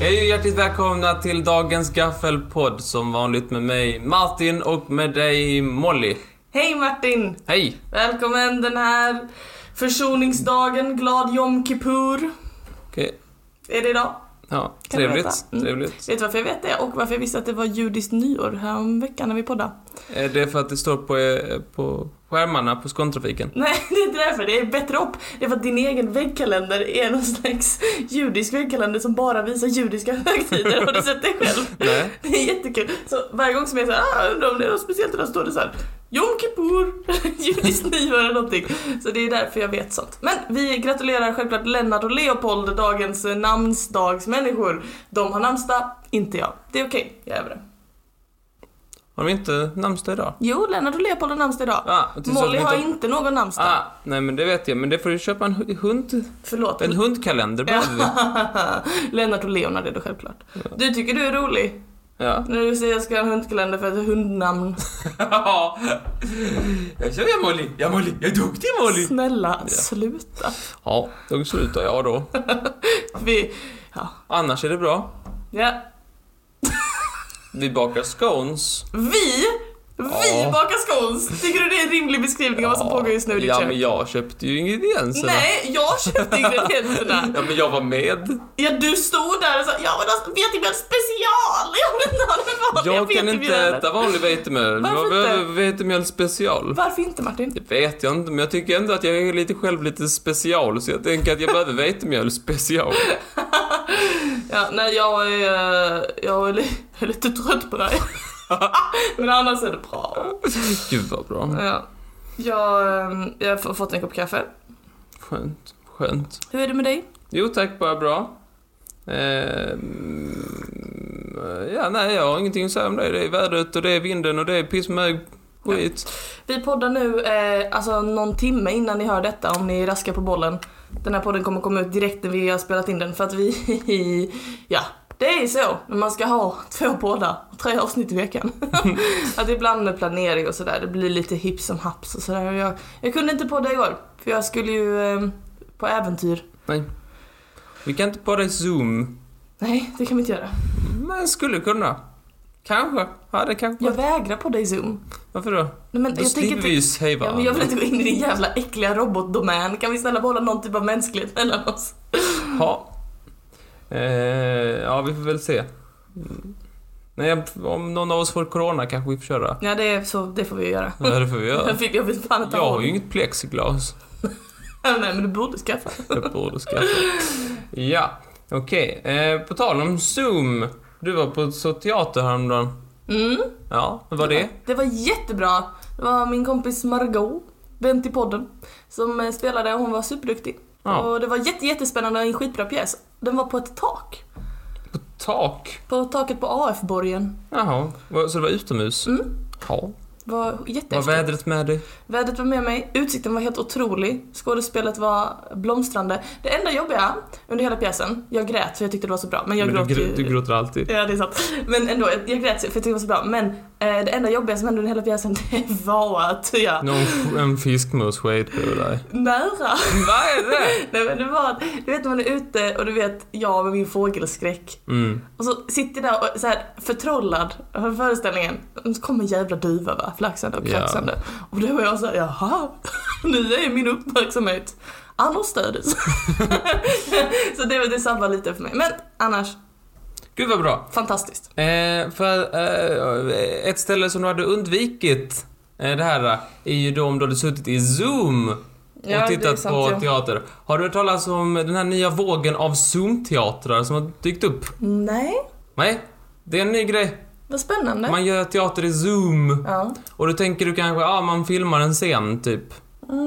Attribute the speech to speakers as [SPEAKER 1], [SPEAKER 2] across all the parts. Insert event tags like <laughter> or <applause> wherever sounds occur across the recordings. [SPEAKER 1] Hej och hjärtligt välkomna till dagens gaffelpodd som vanligt med mig Martin och med dig Molly.
[SPEAKER 2] Hej Martin!
[SPEAKER 1] Hej!
[SPEAKER 2] Välkommen den här försoningsdagen, glad Yom Kippur.
[SPEAKER 1] Okej,
[SPEAKER 2] Är det idag?
[SPEAKER 1] ja,
[SPEAKER 2] du
[SPEAKER 1] trevligt.
[SPEAKER 2] veta? Mm.
[SPEAKER 1] trevligt.
[SPEAKER 2] Vet du varför jag vet det? Och varför jag visste att det var judiskt nyår häromveckan när vi poddade? <laughs>
[SPEAKER 1] Är det för att det står på, eh, på skärmarna på
[SPEAKER 2] <laughs>
[SPEAKER 1] skåntrafiken?
[SPEAKER 2] Nej, det är inte därför. Det är bättre upp. Det är för att din egen väggkalender är någon slags judisk väggkalender som bara visar judiska <laughs> högtider. Har du sett det själv?
[SPEAKER 1] Nej.
[SPEAKER 2] Det är jättekul. Så varje gång som jag säger ah, undrar om det är något speciellt idag så står det så här Yom Kippur, <laughs> judiskt nyår eller någonting. Så det är därför jag vet sånt. Men vi gratulerar självklart Lennart och Leopold, dagens eh, namnsdagsmänniskor. De har namnsdag, inte jag. Det är okej, jag är över det.
[SPEAKER 1] Har de inte namnsdag idag?
[SPEAKER 2] Jo, Lennart och Leopold har namnsdag idag.
[SPEAKER 1] Ah, jag tyckte att
[SPEAKER 2] Molly
[SPEAKER 1] de
[SPEAKER 2] har inte någon namnsdag.
[SPEAKER 1] Ah, nej men det vet jag, men det får du köpa en hu- hund...
[SPEAKER 2] Förlåt.
[SPEAKER 1] En hundkalender behöver vi.
[SPEAKER 2] <laughs> Lennart och Leonard är det självklart. Du tycker du är rolig
[SPEAKER 1] Ja.
[SPEAKER 2] när du säger jag ska ha en hundkalender för ett hundnamn. <laughs>
[SPEAKER 1] Jag kör jag Molly! Ja Molly, jag är duktig Molly!
[SPEAKER 2] Snälla, sluta.
[SPEAKER 1] Ja, då slutar jag då.
[SPEAKER 2] Vi... Ja.
[SPEAKER 1] Annars är det bra.
[SPEAKER 2] ja.
[SPEAKER 1] Vi bakar scones.
[SPEAKER 2] Vi? Vi
[SPEAKER 1] Ja.
[SPEAKER 2] bakar scones! Tycker du det är en rimlig beskrivning av vad som
[SPEAKER 1] Ja,
[SPEAKER 2] pågår just nu i ditt
[SPEAKER 1] Ja,
[SPEAKER 2] kök?
[SPEAKER 1] men jag köpte ju ingredienserna.
[SPEAKER 2] Nej, jag köpte
[SPEAKER 1] <laughs>
[SPEAKER 2] ingredienserna.
[SPEAKER 1] Ja, men jag var med.
[SPEAKER 2] Ja, du stod där och sa alltså, jag vill ha vetemjöl special! Jag vill inte ha den vanliga
[SPEAKER 1] Jag kan inte
[SPEAKER 2] vetemjölen."
[SPEAKER 1] äta vanlig vetemjöl.
[SPEAKER 2] Varför
[SPEAKER 1] Jag
[SPEAKER 2] inte?
[SPEAKER 1] behöver vetemjöl special.
[SPEAKER 2] Varför inte Martin?
[SPEAKER 1] Det vet jag inte, men jag tycker ändå att jag är lite själv lite special, så jag tänker att jag behöver vetemjöl special.
[SPEAKER 2] Ja, nej jag är, eh, jag är, li- jag är lite trött
[SPEAKER 1] <laughs>
[SPEAKER 2] på dig. Men annars är det bra.
[SPEAKER 1] Gud vad bra.
[SPEAKER 2] Ja. Jag, eh, jag har f- fått en kopp kaffe.
[SPEAKER 1] Skönt, skönt.
[SPEAKER 2] Hur är det med dig?
[SPEAKER 1] Jo tack, bara bra. Ehm, ja, nej, jag har ingenting att säga om det. Det är vädret och det är vinden och det är pissmög skit.
[SPEAKER 2] Vi poddar nu eh, alltså någon timme innan ni hör detta om ni raskar på bollen. Den här podden kommer komma ut direkt när vi har spelat in den för att vi... <laughs> ja, det är så när man ska ha två poddar och tre avsnitt
[SPEAKER 1] <laughs>
[SPEAKER 2] i veckan. att ibland med planering och sådär, det blir lite hipp som haps och sådär. Och Jag, jag kunde inte podda igår för jag skulle ju eh, på äventyr.
[SPEAKER 1] Nej. Vi kan inte podda i Zoom.
[SPEAKER 2] Nej, det kan vi inte göra.
[SPEAKER 1] Men skulle kunna. Kanske. Hade kanske.
[SPEAKER 2] Jag vägrar podda i zoom.
[SPEAKER 1] Varför då?
[SPEAKER 2] Nej, men
[SPEAKER 1] Då
[SPEAKER 2] jag tänker
[SPEAKER 1] slipper
[SPEAKER 2] inte...
[SPEAKER 1] vi ju säga
[SPEAKER 2] Ja, men jag vill inte gå in i din jävla äckliga robotdomän. Kan vi snälla behålla någon typ av mänsklighet mellan oss?
[SPEAKER 1] Ja. Eh, ja, vi får väl se. Mm. Nej, om någon av oss får corona kanske vi får köra.
[SPEAKER 2] Ja, det, är så, det får vi ju göra.
[SPEAKER 1] Ja, det får vi göra.
[SPEAKER 2] <laughs> Jag fick jag vet fan inte
[SPEAKER 1] Jag har
[SPEAKER 2] håll.
[SPEAKER 1] ju inget plexiglas.
[SPEAKER 2] <laughs> Nej men du borde skaffa.
[SPEAKER 1] Jag borde skaffa. Ja, okej. Eh, på tal om Zoom. Du var på så teater häromdagen.
[SPEAKER 2] Mm.
[SPEAKER 1] Ja, vad var det?
[SPEAKER 2] Det var jättebra. Det var min kompis Margot, vän till podden, som eh, spelade och hon var superduktig.
[SPEAKER 1] Ja,
[SPEAKER 2] Och det var jätte, jättespännande och en skitbra pjäs. Den var på ett tak.
[SPEAKER 1] tak.
[SPEAKER 2] På taket på AF-borgen.
[SPEAKER 1] Jaha, vad- så det var utomhus?
[SPEAKER 2] Mm.
[SPEAKER 1] Ja.
[SPEAKER 2] Det var jättehäftigt.
[SPEAKER 1] Var vädret med dig?
[SPEAKER 2] Vädret var med mig, utsikten var helt otrolig, skådespelet var blomstrande. Det enda jobbiga under hela pjäsen, jag grät för jag tyckte det var så bra, men jag
[SPEAKER 1] Men
[SPEAKER 2] gråt
[SPEAKER 1] du,
[SPEAKER 2] ju...
[SPEAKER 1] gr- du gråter alltid.
[SPEAKER 2] Ja det är sant. Men ändå, jag, jag grät för jag tyckte det var så bra. Men eh, det enda jobbiga som hände under hela pjäsen <laughs> det var att jag
[SPEAKER 1] Någon f- en fiskmus sket på dig.
[SPEAKER 2] nära.
[SPEAKER 1] Vad är det?
[SPEAKER 2] Nej men det var att, du vet när man är ute och du vet jag med min fågelskräck.
[SPEAKER 1] Mm.
[SPEAKER 2] Och så sitter jag där och så här förtrollad över föreställningen. Och så kommer en jävla duva va, flaxande och
[SPEAKER 1] Ja.
[SPEAKER 2] kraxande. Och då var jag såhär, jaha, <laughs> nu är min uppmärksamhet annorstädes. <laughs> så det, var- det sabbar lite för mig. Men annars,
[SPEAKER 1] Gud vad bra.
[SPEAKER 2] fantastiskt.
[SPEAKER 1] Eh, för eh, ett ställe som du hade undvikit eh, det här eh, är ju då om du hade suttit i Zoom och tittat på teater. Har du hört talas om den här nya vågen av Zoom-teatrar som har dykt upp?
[SPEAKER 2] Nej,
[SPEAKER 1] Nej, det är en ny grej.
[SPEAKER 2] vad spännande.
[SPEAKER 1] Man gör teater i Zoom.
[SPEAKER 2] Ja.
[SPEAKER 1] Och då tänker du kanske, ja ah, man filmar en scen typ.
[SPEAKER 2] Mm,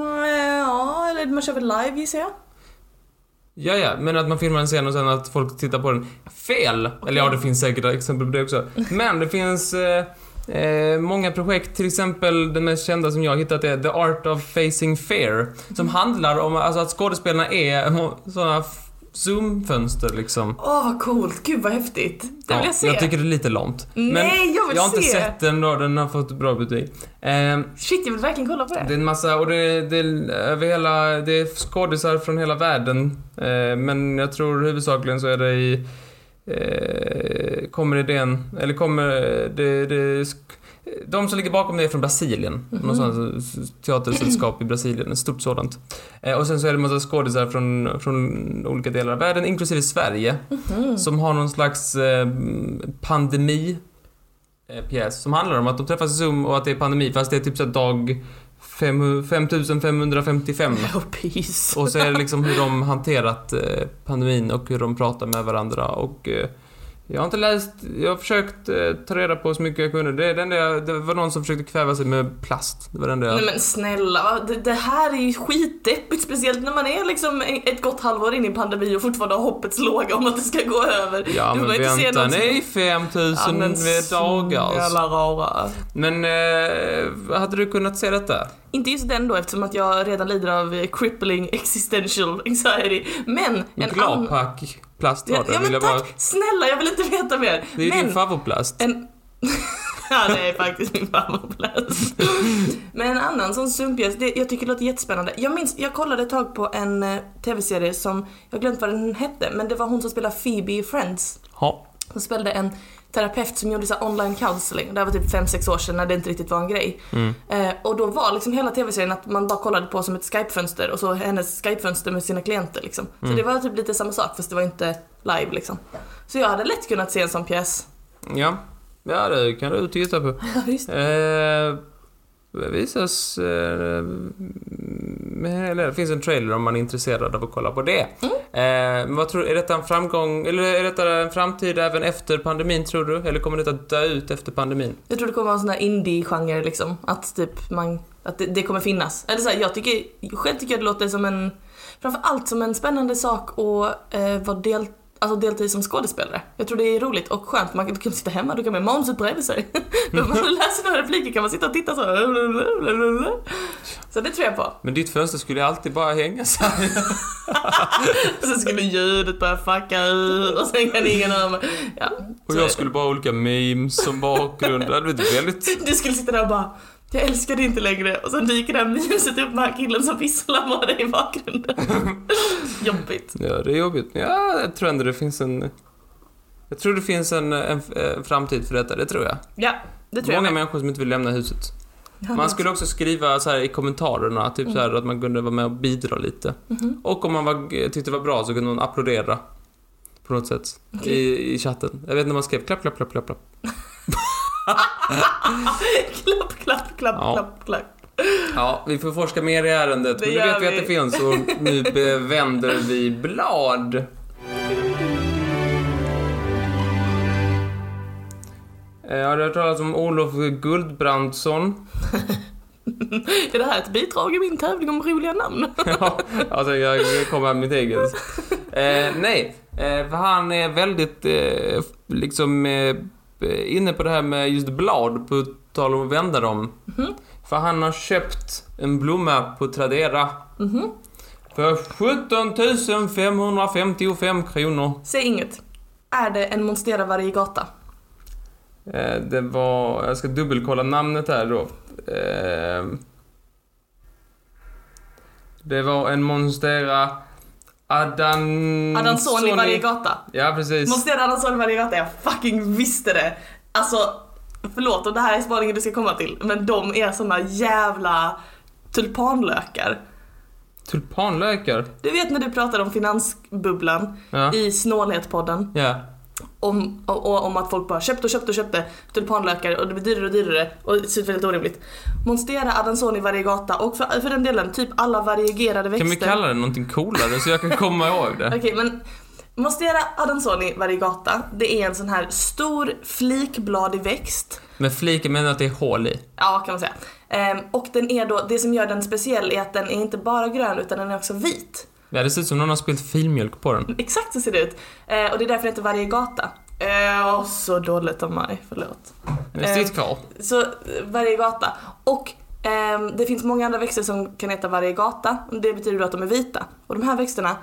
[SPEAKER 2] ja, eller man kör väl live gissar jag.
[SPEAKER 1] Ja, ja, men att man filmar en scen och sen att folk tittar på den. Fel! Eller ja, det finns säkert exempel på det också. Men det finns eh, eh, många projekt, till exempel den mest kända som jag har hittat är The Art of Facing Fear. Som
[SPEAKER 2] Mm.
[SPEAKER 1] handlar om alltså, att skådespelarna är <laughs> sådana zoomfönster liksom.
[SPEAKER 2] Åh vad coolt, gud vad häftigt. Det vill
[SPEAKER 1] Ja,
[SPEAKER 2] jag se.
[SPEAKER 1] Jag tycker det är lite lamt.
[SPEAKER 2] Nej, jag vill
[SPEAKER 1] jag har inte
[SPEAKER 2] se.
[SPEAKER 1] sett den då, den har fått bra betyg. Eh,
[SPEAKER 2] Shit, jag vill verkligen kolla på det. <laughs>
[SPEAKER 1] det är en massa, och det, det, är över hela, det är skådisar från hela världen. Eh, men jag tror huvudsakligen så är det i eh, kommer idén, eller kommer det, det sk- de som ligger bakom det är från Brasilien.
[SPEAKER 2] Mhm.
[SPEAKER 1] Något sånt teatersällskap i Brasilien, ett stort sådant. Eh, och sen så är det en massa skådisar från, från olika delar av världen, inklusive Sverige,
[SPEAKER 2] Mhm.
[SPEAKER 1] som har någon slags eh, pandemi eh, pjäs som handlar om att de träffas i Zoom och att det är pandemi fast det är typ så här dag fem-
[SPEAKER 2] <laughs>
[SPEAKER 1] 5555
[SPEAKER 2] Oh, peace.
[SPEAKER 1] och så är det liksom hur de hanterat eh, pandemin och hur de pratar med varandra och eh, jag har inte läst, jag har försökt eh, ta reda på så mycket jag kunde. Det, är det, enda jag, det var någon som försökte kväva sig med plast. Det var det enda jag...
[SPEAKER 2] Nej men snälla, det, det här är ju skitdeppigt speciellt när man är liksom ett gott halvår in i pandemi och fortfarande har hoppets låga om att det ska gå över.
[SPEAKER 1] ja
[SPEAKER 2] du
[SPEAKER 1] men
[SPEAKER 2] behöver inte se
[SPEAKER 1] vänta,
[SPEAKER 2] någon som-
[SPEAKER 1] nej 5000 dagar. alltså.
[SPEAKER 2] Snälla rara.
[SPEAKER 1] Men eh, hade du kunnat se detta?
[SPEAKER 2] Inte just den då eftersom att jag redan lider av eh, crippling existential anxiety. Men en annan...
[SPEAKER 1] Gladpack plast
[SPEAKER 2] Ja,
[SPEAKER 1] har du,
[SPEAKER 2] ja
[SPEAKER 1] vill jag
[SPEAKER 2] men tack!
[SPEAKER 1] bara...
[SPEAKER 2] Snälla, jag vill inte veta mer.
[SPEAKER 1] Det är ju
[SPEAKER 2] men...
[SPEAKER 1] din favoritplast.
[SPEAKER 2] En... ja, det är faktiskt min favoritplats. Men en annan sån sumpjäs, det jag tycker låter jättespännande. Jag minns, jag kollade ett tag på en eh, tv-serie som, jag har glömt vad den hette, men det var hon som spelade Phoebe i Friends.
[SPEAKER 1] Ja.
[SPEAKER 2] Hon spelade en terapeut som gjorde så här online counseling. Det här var typ 5-6 år sedan när det inte riktigt var en grej.
[SPEAKER 1] Mm.
[SPEAKER 2] Eh, och då var liksom hela tv-serien att man bara kollade på som ett skype-fönster och så hennes skype-fönster med sina klienter liksom. Så
[SPEAKER 1] Mm.
[SPEAKER 2] det var typ lite samma sak fast det var inte live liksom. Så jag hade lätt kunnat se en sån pjäs.
[SPEAKER 1] Ja, ja det kan du titta på.
[SPEAKER 2] Ja, just
[SPEAKER 1] Eh, det visas... Eh, mm, eller det finns en trailer om man är intresserad av att kolla på det.
[SPEAKER 2] Mm.
[SPEAKER 1] Eh, men vad tror Är detta en framgång, eller är detta en framtid även efter pandemin tror du? Eller kommer detta dö ut efter pandemin?
[SPEAKER 2] Jag tror det kommer vara en sån här indie-genre liksom. Att typ man, att det, det kommer finnas. Eller så här, jag tycker, själv tycker jag det låter som en, framförallt som en spännande sak att eh, vara del, alltså delta i som skådespelare. Jag tror det är roligt och skönt. Man kan, du kan sitta hemma, du kan med manuset bredvid sig. <laughs> Då man läser några repliker kan man sitta och titta så. här. Så det tror jag på.
[SPEAKER 1] Men ditt fönster skulle ju alltid bara hänga <laughs> så här.
[SPEAKER 2] Och sen skulle ljudet börja fucka ur och sen kan ingen höra mig. Ja,
[SPEAKER 1] Och
[SPEAKER 2] så är
[SPEAKER 1] jag
[SPEAKER 2] det.
[SPEAKER 1] skulle bara ha olika memes som bakgrund. Det hade blivit väldigt
[SPEAKER 2] Du skulle sitta där och bara jag älskar dig inte längre och sen dyker det här memeset upp med den här killen som visslar med dig
[SPEAKER 1] <laughs>
[SPEAKER 2] i bakgrunden. Jobbigt.
[SPEAKER 1] Ja, det är jobbigt. Men ja, jag tror ändå det finns en... Jag tror det finns en, en, en framtid för detta, det tror jag.
[SPEAKER 2] Ja, det tror
[SPEAKER 1] Många
[SPEAKER 2] jag. med.
[SPEAKER 1] människor som inte vill lämna huset.
[SPEAKER 2] Ja, Mm.
[SPEAKER 1] Man
[SPEAKER 2] det-
[SPEAKER 1] skulle också skriva så här i kommentarerna, typ så här att man kunde vara med och bidra lite.
[SPEAKER 2] Mhm.
[SPEAKER 1] Och om man var, tyckte det var bra så kunde man applådera. På något sätt.
[SPEAKER 2] Okej.
[SPEAKER 1] I, I chatten. Jag vet när man skrev klapp, klapp, klapp, klapp, klapp.
[SPEAKER 2] klapp, klapp, klapp,
[SPEAKER 1] Ja.
[SPEAKER 2] klapp, klapp.
[SPEAKER 1] Ja, vi får forska mer i ärendet.
[SPEAKER 2] Det
[SPEAKER 1] men nu
[SPEAKER 2] gör
[SPEAKER 1] vet vi att det
[SPEAKER 2] vi.
[SPEAKER 1] finns och nu
[SPEAKER 2] <laughs>
[SPEAKER 1] be- vänder vi blad. Eh, Har du hört talas om Olof Guldbrandsson?
[SPEAKER 2] Är det här ett bidrag i min tävling om roliga namn?
[SPEAKER 1] Ja, alltså jag kommer med mitt eget. Eh, nej, eh, för han är väldigt eh, f- liksom eh, inne på det här med just blad, på tal om att vända dem.
[SPEAKER 2] Mhm.
[SPEAKER 1] För han har köpt en blomma på Tradera
[SPEAKER 2] Mhm.
[SPEAKER 1] För 17 555 kronor.
[SPEAKER 2] Säg inget. Är det en Monstera variegata?
[SPEAKER 1] Mm, Eh, det var... Jag ska dubbelkolla namnet här då. Eh, det var en Monstera Adan...
[SPEAKER 2] Adansoni
[SPEAKER 1] Sony-
[SPEAKER 2] variegata?
[SPEAKER 1] Ja, precis.
[SPEAKER 2] Monstera Adansoni variegata, jag fucking visste det! Alltså, förlåt och det här är spaningen du ska komma till, men de är såna jävla tulpanlökar.
[SPEAKER 1] Tulpanlökar.
[SPEAKER 2] Du vet när du pratade om finansbubblan
[SPEAKER 1] Ja.
[SPEAKER 2] i Snålhetpodden
[SPEAKER 1] ja.
[SPEAKER 2] om, och, och om att folk bara köpte och köpte och köpte tulpanlökar och det blir dyrare och dyrare och det ser ut väldigt orimligt. Monstera Adansoni variegata och för, för den delen typ alla variegerade växter.
[SPEAKER 1] Kan vi kalla det någonting coolare så jag kan komma ihåg det?
[SPEAKER 2] <laughs> Okej men Monstera Adansoni variegata, det är en sån här stor flikbladig växt
[SPEAKER 1] Med fliken menar jag att det är hål i.
[SPEAKER 2] Ja, kan man säga. Ehm, och den är då, det som gör den speciell är att den är inte bara grön utan den är också vit.
[SPEAKER 1] Ja, det ser ut som någon har spilt filmjölk på den.
[SPEAKER 2] Exakt så ser det ut. Eh, och det är därför det heter variegata. Eh, åh, så dåligt av mig, förlåt.
[SPEAKER 1] Men det sitter kvar.
[SPEAKER 2] Så eh, variegata. Och ehm, det finns många andra växter som kan heta variegata. Och Det betyder då att de är vita. Och de här växterna,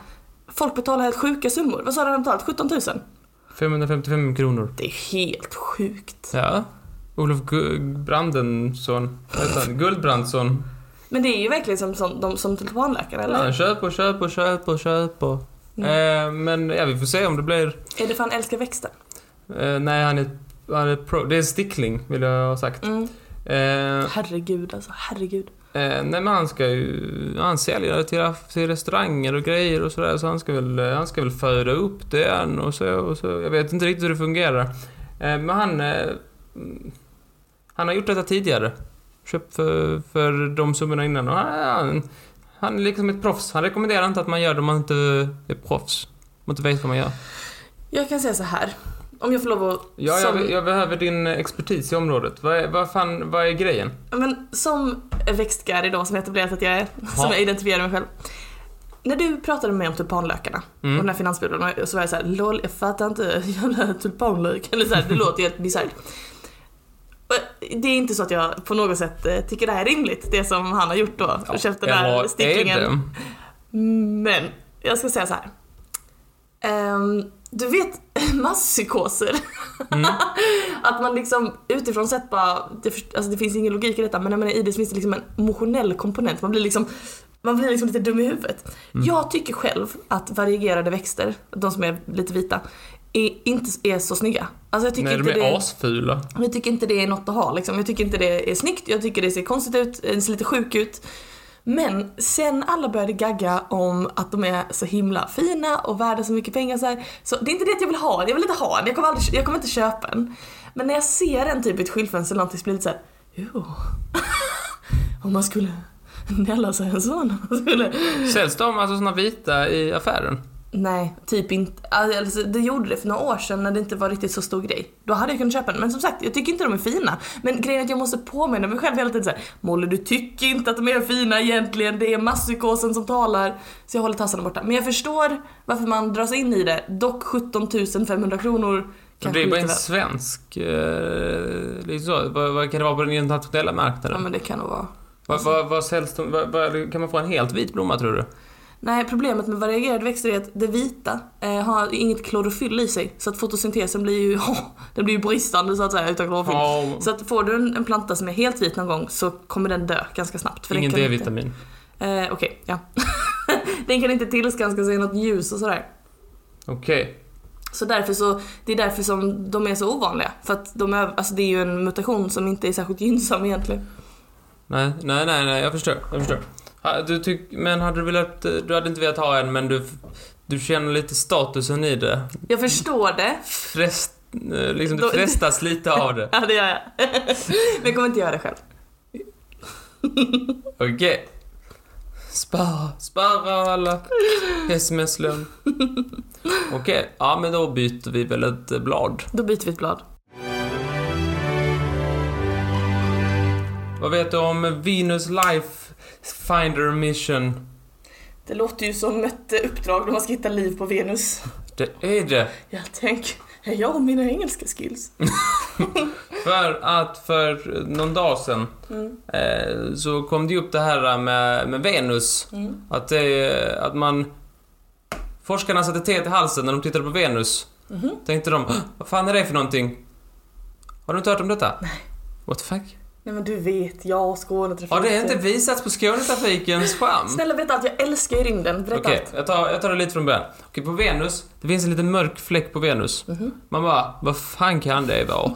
[SPEAKER 2] folk betalar helt sjuka summor. Vad sa du de betalat? 17 000?
[SPEAKER 1] 555 kronor.
[SPEAKER 2] Det är helt sjukt.
[SPEAKER 1] Ja. Olof Gu- Brandensson. Vad heter han? Guldbrandsson.
[SPEAKER 2] Men det är ju verkligen som, som, de, som tulpanläkare, eller? Mm.
[SPEAKER 1] Ja, köp och köp och köp och köp och... Eh, men ja, vi får se om det blir...
[SPEAKER 2] Är det för han älskar växter?
[SPEAKER 1] Eh, nej, han är, han är pro. Det är stickling, vill jag ha sagt.
[SPEAKER 2] Mm.
[SPEAKER 1] Eh,
[SPEAKER 2] Herregud alltså, herregud.
[SPEAKER 1] Eh, nej men han ska ju... Han säljer det till, till restauranger och grejer och sådär så han ska väl, eh, han ska väl föda upp det än och så, och så. Jag vet inte riktigt hur det fungerar. Eh, men han... Eh, mm, han har gjort detta tidigare. Köpt för, för de summorna innan och han, han, han är liksom ett proffs. Han rekommenderar inte att man gör det om man inte är proffs. Om man inte vet vad man gör.
[SPEAKER 2] Jag kan säga så här. Om jag får lov att...
[SPEAKER 1] Ja,
[SPEAKER 2] som,
[SPEAKER 1] jag, jag behöver din expertis i området. Vad, är, vad fan, vad är grejen?
[SPEAKER 2] Men som växtgäri då, som jag etablerat att jag är,
[SPEAKER 1] Ja.
[SPEAKER 2] som jag identifierar mig själv. När du pratade med mig om tulpanlökarna
[SPEAKER 1] Mm.
[SPEAKER 2] och den här finansbubblan och så var jag såhär LOL jag fattar inte, <laughs> jävla tulpanlök. Eller såhär, det låter helt bisarrt. Och Det är inte så att jag på något sätt eh, tycker det här är rimligt, det som han har gjort då. och köpt den
[SPEAKER 1] Eller är
[SPEAKER 2] där
[SPEAKER 1] det?
[SPEAKER 2] sticklingen. Men jag ska säga så här. Ehm, du vet <laughs> masspsykoser?
[SPEAKER 1] Mm.
[SPEAKER 2] <laughs> att man liksom utifrån sett bara, det, för- alltså det finns ingen logik i detta men när man är i det så finns det liksom en emotionell komponent. Man blir liksom, man blir liksom lite dum i huvudet.
[SPEAKER 1] Mm.
[SPEAKER 2] Jag tycker själv att variegerade växter, de som är lite vita, är, inte är så snygga. Alltså jag tycker
[SPEAKER 1] Nej, de
[SPEAKER 2] inte
[SPEAKER 1] är
[SPEAKER 2] det...
[SPEAKER 1] asfula.
[SPEAKER 2] Men jag tycker inte det är något att ha liksom. Jag tycker inte det är snyggt, jag tycker det ser konstigt ut, det ser lite sjuk ut. Men sen alla började gagga om att de är så himla fina och värda så mycket pengar så här. Så det är inte det att jag vill ha den, jag vill inte ha den, jag kommer, aldrig, jag kommer inte köpa den. Men när jag ser den typ i ett skyltfönster eller någonting så blir det lite såhär, jo. <laughs> om man skulle nälla sig en sån. man skulle...
[SPEAKER 1] Säljs de alltså såna vita i affären?
[SPEAKER 2] Nej, typ inte. Alltså, det gjorde det för några år sedan när det inte var riktigt så stor grej. Då hade jag kunnat köpa den. Men som sagt, jag tycker inte de är fina. Men grejen är att jag måste påminna mig själv hela tiden såhär Molly, du tycker inte att de är fina egentligen. Det är masspsykosen som talar. Så jag håller tassarna borta. Men jag förstår varför man dras in i det. Dock 17 500 kronor.
[SPEAKER 1] Men
[SPEAKER 2] kanske
[SPEAKER 1] det är bara
[SPEAKER 2] lite
[SPEAKER 1] en
[SPEAKER 2] väl.
[SPEAKER 1] svensk... Eh, liksom så. Vad, vad kan det vara på den internationella
[SPEAKER 2] Ja
[SPEAKER 1] marknaden?
[SPEAKER 2] men det kan nog vara.
[SPEAKER 1] Vad, vad, vad säljs de, vad, vad, Kan man få en helt vit blomma tror du?
[SPEAKER 2] Nej, problemet med varierade växter är att det vita eh, har inget klorofyll i sig. Så att fotosyntesen blir ju, <laughs> den blir ju bristande så att säga utan klorofyll.
[SPEAKER 1] Ja,
[SPEAKER 2] Så att får du en, en planta som är helt vit någon gång så kommer den dö ganska snabbt. den
[SPEAKER 1] ingen
[SPEAKER 2] kan inte-
[SPEAKER 1] D-vitamin.
[SPEAKER 2] Eh, Okej, ja. <laughs> den kan inte tillskanska sig något ljus och sådär.
[SPEAKER 1] Okej.
[SPEAKER 2] Så därför så, det är därför som de är så ovanliga. För att de är, alltså det är ju en mutation som inte är särskilt gynnsam egentligen.
[SPEAKER 1] Nej, nej, nej, nej, jag förstår. Jag förstår. Ha, du tyck, men hade du velat... Du hade inte velat ha en, men du... Du känner lite statusen i det.
[SPEAKER 2] Jag förstår det.
[SPEAKER 1] Frest, eh, liksom, du
[SPEAKER 2] Då-
[SPEAKER 1] frestas lite av det.
[SPEAKER 2] <laughs> Ja, det gör jag. Men jag kommer inte göra det själv.
[SPEAKER 1] Okej. Spara, spara alla sms-lön. Okej, ja men då byter vi väl ett eh, blad.
[SPEAKER 2] Då byter vi ett blad.
[SPEAKER 1] Vad vet du om Venus Life Finder Mission?
[SPEAKER 2] Det låter ju som ett eh, uppdrag där man ska hitta liv på Venus.
[SPEAKER 1] Det är det.
[SPEAKER 2] Jag tänker, är jag och mina engelska skills?
[SPEAKER 1] För att för någon dag sedan
[SPEAKER 2] Mm.
[SPEAKER 1] eh, så kom det ju upp det här med, med Venus.
[SPEAKER 2] Mm.
[SPEAKER 1] Att, det, är- att man... Forskarna satte teet i halsen när de tittade på Venus.
[SPEAKER 2] Mhm.
[SPEAKER 1] Tänkte de, "Åh, vad fan är det för någonting? Har du inte hört om detta? Nej. What the fuck?
[SPEAKER 2] Nej men du vet, jag och Skånetrafiken.
[SPEAKER 1] Har det inte visats på Skånetrafikens skärm?
[SPEAKER 2] Mm. Snälla berätta allt, jag älskar ju rymden. Berätta
[SPEAKER 1] Okej,
[SPEAKER 2] allt.
[SPEAKER 1] jag, tar, jag tar det lite från början. Okej, på Venus, det finns en liten mörk fläck på Venus.
[SPEAKER 2] Mhm.
[SPEAKER 1] Man bara, vad fan kan det
[SPEAKER 2] <laughs>
[SPEAKER 1] vara?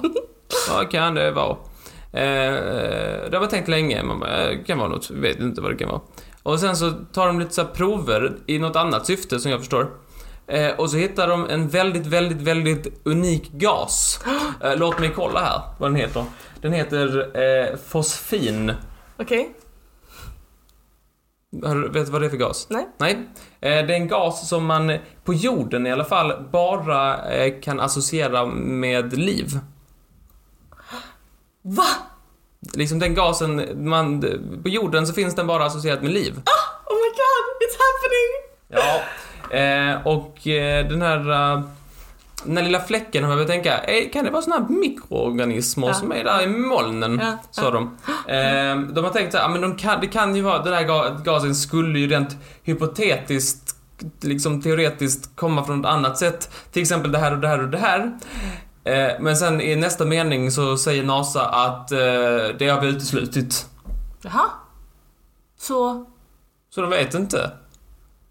[SPEAKER 1] vad kan det vara? Eh, det har man tänkt länge, man bara, eh, det kan vara något, jag vet inte vad det kan vara. Och sen så tar de lite så här prover i något annat syfte som jag förstår. Eh, och så hittar de en väldigt, väldigt, väldigt unik gas. Eh, låt mig kolla här vad den heter. Den heter eh, fosfin.
[SPEAKER 2] Okej.
[SPEAKER 1] Har du- Vet du vad det är för gas?
[SPEAKER 2] Nej.
[SPEAKER 1] Nej. Eh, Det är en gas som man eh, på jorden i alla fall bara eh, kan associera med liv.
[SPEAKER 2] Va?
[SPEAKER 1] Liksom den gasen man... På jorden så finns den bara associerat med liv.
[SPEAKER 2] Oh my god, it's happening!
[SPEAKER 1] Ja. Eh, Och eh, den här... eh, Den här lilla fläcken har jag börjat tänka, eh, kan det vara såna här mikroorganismer
[SPEAKER 2] Ja.
[SPEAKER 1] som är där i molnen?
[SPEAKER 2] Ja,
[SPEAKER 1] Sa de. Eh, de har tänkt så här, "Ah, men de kan, det kan ju vara, den här ga- gasen skulle ju rent hypotetiskt, liksom teoretiskt komma från ett annat sätt. Till exempel det här och det här och det här. Eh, men sen i nästa mening så säger NASA att eh, det har vi uteslutit.
[SPEAKER 2] Jaha. Så,
[SPEAKER 1] Så de vet inte.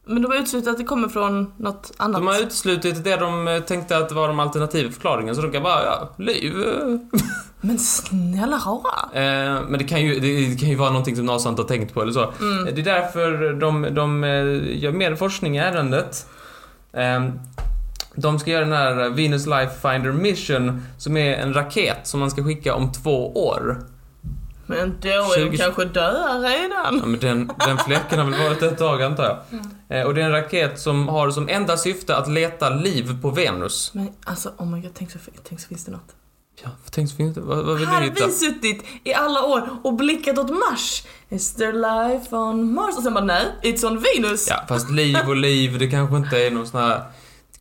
[SPEAKER 2] Men de har uteslutit att det kommer från något annat.
[SPEAKER 1] De har uteslutit det de eh, tänkte att var de alternativa förklaringen, så de kan bara, ja, liv. eh.
[SPEAKER 2] Men snälla rara!
[SPEAKER 1] Eh, men det kan, ju, det kan ju vara någonting som NASA inte har tänkt på eller så. Eh,
[SPEAKER 2] Mm.
[SPEAKER 1] Det är därför de, de eh, gör mer forskning i ärendet. Eh, De ska göra den här Venus Life Finder Mission, som är en raket som man ska skicka om två år.
[SPEAKER 2] Men då är de
[SPEAKER 1] 20
[SPEAKER 2] kanske döda
[SPEAKER 1] Ja,
[SPEAKER 2] redan.
[SPEAKER 1] men den, den fläcken har väl varit ett tag antar jag. Eh, Och det är en raket som har som enda syfte att leta liv på Venus.
[SPEAKER 2] Men alltså oh my god, tänk så, tänk så finns det något.
[SPEAKER 1] Ja, tänk så fint. Vad, vad vill
[SPEAKER 2] Här
[SPEAKER 1] du
[SPEAKER 2] har
[SPEAKER 1] hitta?
[SPEAKER 2] vi suttit i alla år och blickat åt Mars. Is there life on Mars? Och sen bara nej, it's on Venus.
[SPEAKER 1] Ja, fast liv och liv, det kanske inte är någon sån här...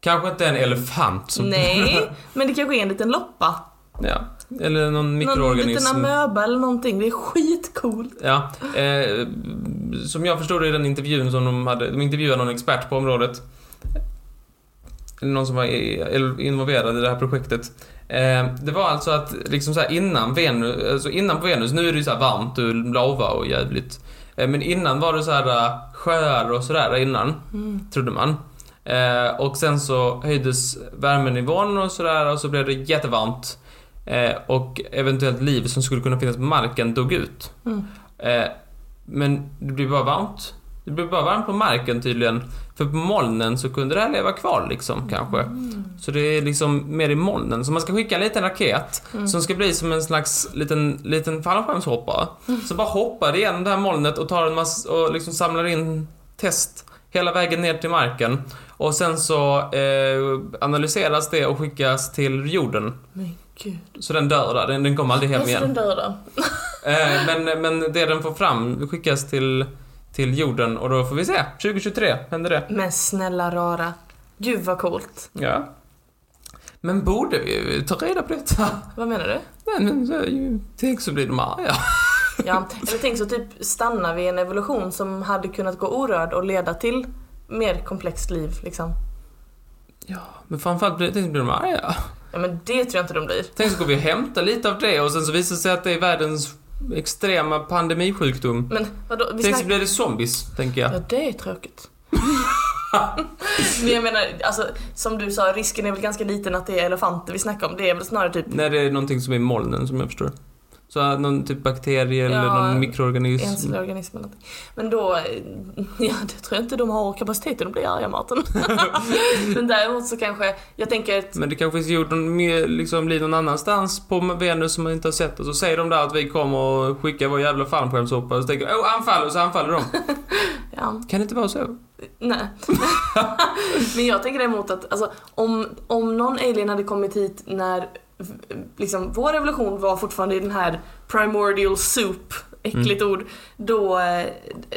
[SPEAKER 1] Kanske inte en elefant som...
[SPEAKER 2] Nej, men det kanske är en liten loppa.
[SPEAKER 1] Ja, eller någon mikroorganism.
[SPEAKER 2] Någon liten amöba eller någonting. Det är skitcoolt.
[SPEAKER 1] Ja, eh, som jag förstod det i den intervjun som de hade, de intervjuade någon expert på området. Eller någon som var i- eller involverad i det här projektet. Eh, det var alltså att liksom så här innan Venus, alltså innan på Venus, nu är det ju så här varmt och lava och jävligt. Eh, men innan var det så här eh, sjöar och sådär innan,
[SPEAKER 2] Mm,
[SPEAKER 1] trodde man. Eh, och sen så höjdes värmenivån och sådär och så blev det jättevarmt. Eh, och eventuellt liv som skulle kunna finnas på marken dog ut.
[SPEAKER 2] Mm.
[SPEAKER 1] Eh, men det blir bara varmt. Det blir bara varmt på marken tydligen. För på molnen så kunde det här leva kvar liksom kanske. Så det är liksom mer i molnen. Så man ska skicka en liten raket som ska bli som en slags liten, liten fallskärmshoppare. Som bara hoppar igenom det här molnet och tar en massa, och liksom samlar in test hela vägen ner till marken. Och sen så eh, analyseras det och skickas till jorden.
[SPEAKER 2] Men gud.
[SPEAKER 1] Så den dör där, den, den kommer aldrig hem
[SPEAKER 2] Varför
[SPEAKER 1] igen.
[SPEAKER 2] Alltså, den döda?
[SPEAKER 1] Eh, men, men det den får fram skickas till, till jorden och då får vi se. 2023 händer det.
[SPEAKER 2] Men snälla rara. Gud vad coolt.
[SPEAKER 1] Ja. Men borde vi ta reda på detta? <laughs>
[SPEAKER 2] Vad menar du?
[SPEAKER 1] Nej, men så, tänk så blir de arga.
[SPEAKER 2] Ja, eller tänk så typ stanna vid en evolution som hade kunnat gå orörd och leda till mer komplext liv liksom.
[SPEAKER 1] Ja, men framförallt blir, tänk så blir de arga.
[SPEAKER 2] Ja men det tror jag inte de blir.
[SPEAKER 1] Tänk så går vi och hämtar lite av det och sen så visar det sig att det är världens extrema pandemisjukdom.
[SPEAKER 2] Men vadå, vi
[SPEAKER 1] Tänk så
[SPEAKER 2] snackar...
[SPEAKER 1] blir det zombies, tänker jag.
[SPEAKER 2] Ja det är tråkigt. <laughs> men jag menar, alltså, som du sa, risken är väl ganska liten att det är elefanter vi snackar om. Det är väl snarare typ
[SPEAKER 1] När det är någonting som är i molnen, som jag förstår. Så att någon typ bakterie eller
[SPEAKER 2] Ja,
[SPEAKER 1] någon mikroorganism.
[SPEAKER 2] enskilda organismer eller någonting. Men då, <laughs> eh, ja det tror jag inte de har kapaciteten att bli arga Martin. <laughs> men däremot så kanske, jag tänker att
[SPEAKER 1] Men det kanske finns jorden mer, liksom liv någon annanstans på Venus som man inte har sett och så säger de där att vi kommer och skickar vår jävla fallskärmshoppa och så tänker de, åh anfall och så anfaller
[SPEAKER 2] <laughs>
[SPEAKER 1] de.
[SPEAKER 2] ja,
[SPEAKER 1] kan det inte vara så?
[SPEAKER 2] Nej. <laughs> Men jag tänker däremot att alltså, om, om någon alien hade kommit hit när v- liksom, vår revolution var fortfarande i den här primordial soup, äckligt
[SPEAKER 1] Mm.
[SPEAKER 2] ord, då, eh,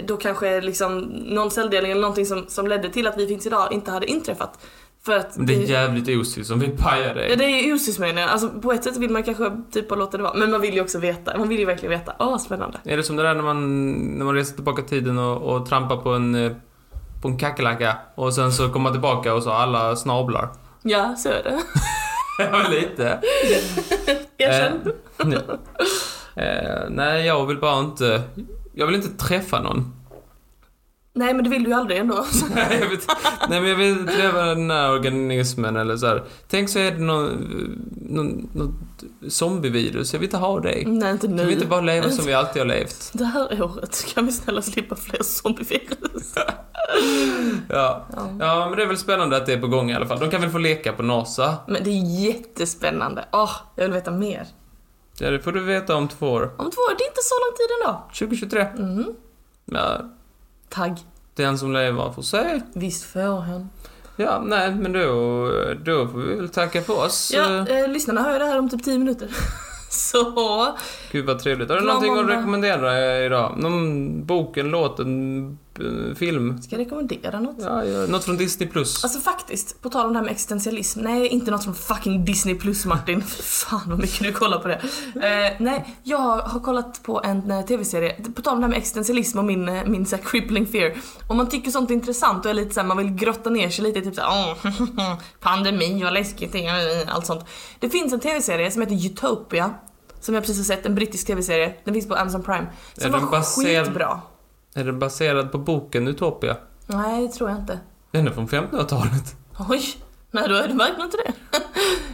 [SPEAKER 2] då kanske liksom, någon celldelning eller någonting som, som ledde till att vi finns idag inte hade inträffat. För att
[SPEAKER 1] Men det är
[SPEAKER 2] vi-
[SPEAKER 1] jävligt osyst om vi pajar
[SPEAKER 2] Ja,
[SPEAKER 1] det.
[SPEAKER 2] det är ju osyst menar jag. Alltså, på ett sätt vill man kanske typ bara låta det vara. Men man vill ju också veta. Man vill ju verkligen veta. Åh, spännande.
[SPEAKER 1] Är det som det där när man, när man reser tillbaka i tiden och, och trampar på en, eh, på en kackerlacka och sen så kommer man tillbaka och så har alla snablar? <laughs>
[SPEAKER 2] Ja, så är det.
[SPEAKER 1] Ja, lite.
[SPEAKER 2] Erkänn.
[SPEAKER 1] Eh, <laughs> ja. eh, nej, jag vill bara inte... Jag vill inte träffa någon. <laughs>
[SPEAKER 2] Nej, men det vill du ju aldrig ändå.
[SPEAKER 1] Nej, jag vet, nej men jag vill inte leva den här organismen eller så här. Tänk så är det någon, någon, något zombievirus. Jag vill inte ha dig.
[SPEAKER 2] Nej, inte nu.
[SPEAKER 1] Kan vi inte bara leva som vi alltid har levt?
[SPEAKER 2] Det här året kan vi snälla slippa fler zombievirus.
[SPEAKER 1] Ja. ja, men det är väl spännande att det är på gång i alla fall. De kan väl få leka på NASA?
[SPEAKER 2] Men det är jättespännande. Åh, jag vill veta mer.
[SPEAKER 1] Ja, det får du veta om två år.
[SPEAKER 2] Om två år, det är inte så lång tid ändå.
[SPEAKER 1] 2023.
[SPEAKER 2] Mhm.
[SPEAKER 1] Ja,
[SPEAKER 2] Tagg.
[SPEAKER 1] den som lever får se.
[SPEAKER 2] Visst får hon.
[SPEAKER 1] Ja, nej, men då, då får vi väl tacka för oss.
[SPEAKER 2] Ja, eh, lyssnarna hör ju det här om typ 10 minuter. <laughs> så,
[SPEAKER 1] Gud vad trevligt. Har du
[SPEAKER 2] Glad
[SPEAKER 1] någonting att
[SPEAKER 2] måndag.
[SPEAKER 1] rekommendera eh, idag? Någon bok, en låt, en eh, film?
[SPEAKER 2] ska jag rekommendera något?
[SPEAKER 1] Ja, ja. Något från Disney Plus.
[SPEAKER 2] Alltså faktiskt, på tal om det här med existentialism. Nej, inte något från fucking Disney plus Martin. <laughs> Fy Fan vad mycket du kollar på det. Eh, nej, jag har kollat på en eh, tv-serie. På tal om det här med existentialism och min, eh, min så här, crippling fear. Om man tycker sånt är intressant och är lite såhär, man vill grotta ner sig lite typ såhär oh, <laughs> pandemi, vad läskigt, det är", allt sånt. Det finns en tv-serie som heter Utopia. Som jag precis har sett, en brittisk tv-serie. Den finns på Amazon Prime.
[SPEAKER 1] Är
[SPEAKER 2] Som
[SPEAKER 1] den
[SPEAKER 2] var
[SPEAKER 1] baserad-
[SPEAKER 2] skitbra.
[SPEAKER 1] Är den baserad på boken Utopia?
[SPEAKER 2] Nej, det tror jag inte.
[SPEAKER 1] Den är från 1500-talet.
[SPEAKER 2] Oj! Nej, då är det verkligen inte det.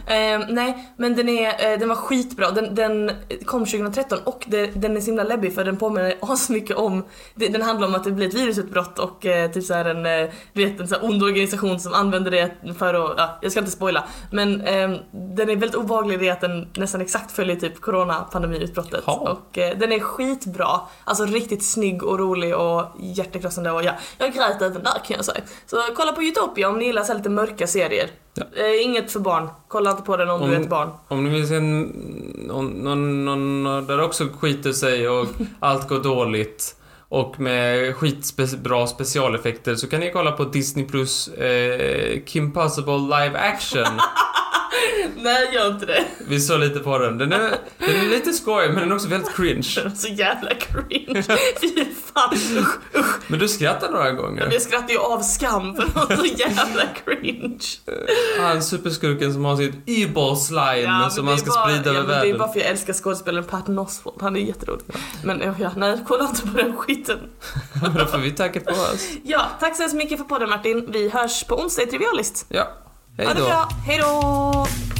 [SPEAKER 2] Ehm, nej, men den, är, eh, den var skitbra. Den, den kom 2013 och det, den är så himla läbbig för den påminner <laughs> asmycket om... det- Den handlar om att det blir ett virusutbrott och eh, typ så här en, eh, du vet, en så här ond organisation som använder det för att... Ja, jag ska inte spoila. Men ehm, den är väldigt obehaglig i det att den nästan exakt följer typ coronapandemiutbrottet.
[SPEAKER 1] Jaha.
[SPEAKER 2] Och eh, den är skitbra. Alltså riktigt snygg och rolig och hjärtekrossande och ja, jag grät även där kan jag säga. Så kolla på Utopia om ni gillar så här lite mörka serier.
[SPEAKER 1] Ja.
[SPEAKER 2] Eh, inget för barn. Kolla inte på den om,
[SPEAKER 1] Mm.
[SPEAKER 2] du är ett barn.
[SPEAKER 1] Om ni vill se en, någon, någon, någon där också skiter sig
[SPEAKER 2] <laughs>
[SPEAKER 1] och allt går dåligt och med skitbra specialeffekter så kan ni kolla på Disney Plus eh, Kim Possible Live
[SPEAKER 2] <laughs>
[SPEAKER 1] Action.
[SPEAKER 2] <laughs> Nej, gör inte det.
[SPEAKER 1] Vi såg lite på den. Den är, den är lite skoj men den är också väldigt cringe.
[SPEAKER 2] Den är så
[SPEAKER 1] <laughs>
[SPEAKER 2] jävla cringe. Fy fan. Usch, usch.
[SPEAKER 1] Men du skrattar några
[SPEAKER 2] <laughs>
[SPEAKER 1] gånger.
[SPEAKER 2] Jag skrattar ju av skam för den var så jävla cringe.
[SPEAKER 1] Han superskurken som har sitt e-ball slime
[SPEAKER 2] men
[SPEAKER 1] som
[SPEAKER 2] det
[SPEAKER 1] han
[SPEAKER 2] är
[SPEAKER 1] ska
[SPEAKER 2] bara-
[SPEAKER 1] sprida
[SPEAKER 2] ja,
[SPEAKER 1] över
[SPEAKER 2] men Det är
[SPEAKER 1] världen. <laughs>
[SPEAKER 2] bara för jag älskar skådespelaren Pat Oswalt. Han är jätterolig. Men ja, ja, nej, kolla inte på den skiten.
[SPEAKER 1] Då får vi tacka för oss.
[SPEAKER 2] Ja, tack så hemskt mycket för podden Martin. Vi hörs på onsdag i Trivialist.
[SPEAKER 1] Ja, hej
[SPEAKER 2] Ha det
[SPEAKER 1] då.
[SPEAKER 2] bra, hej då!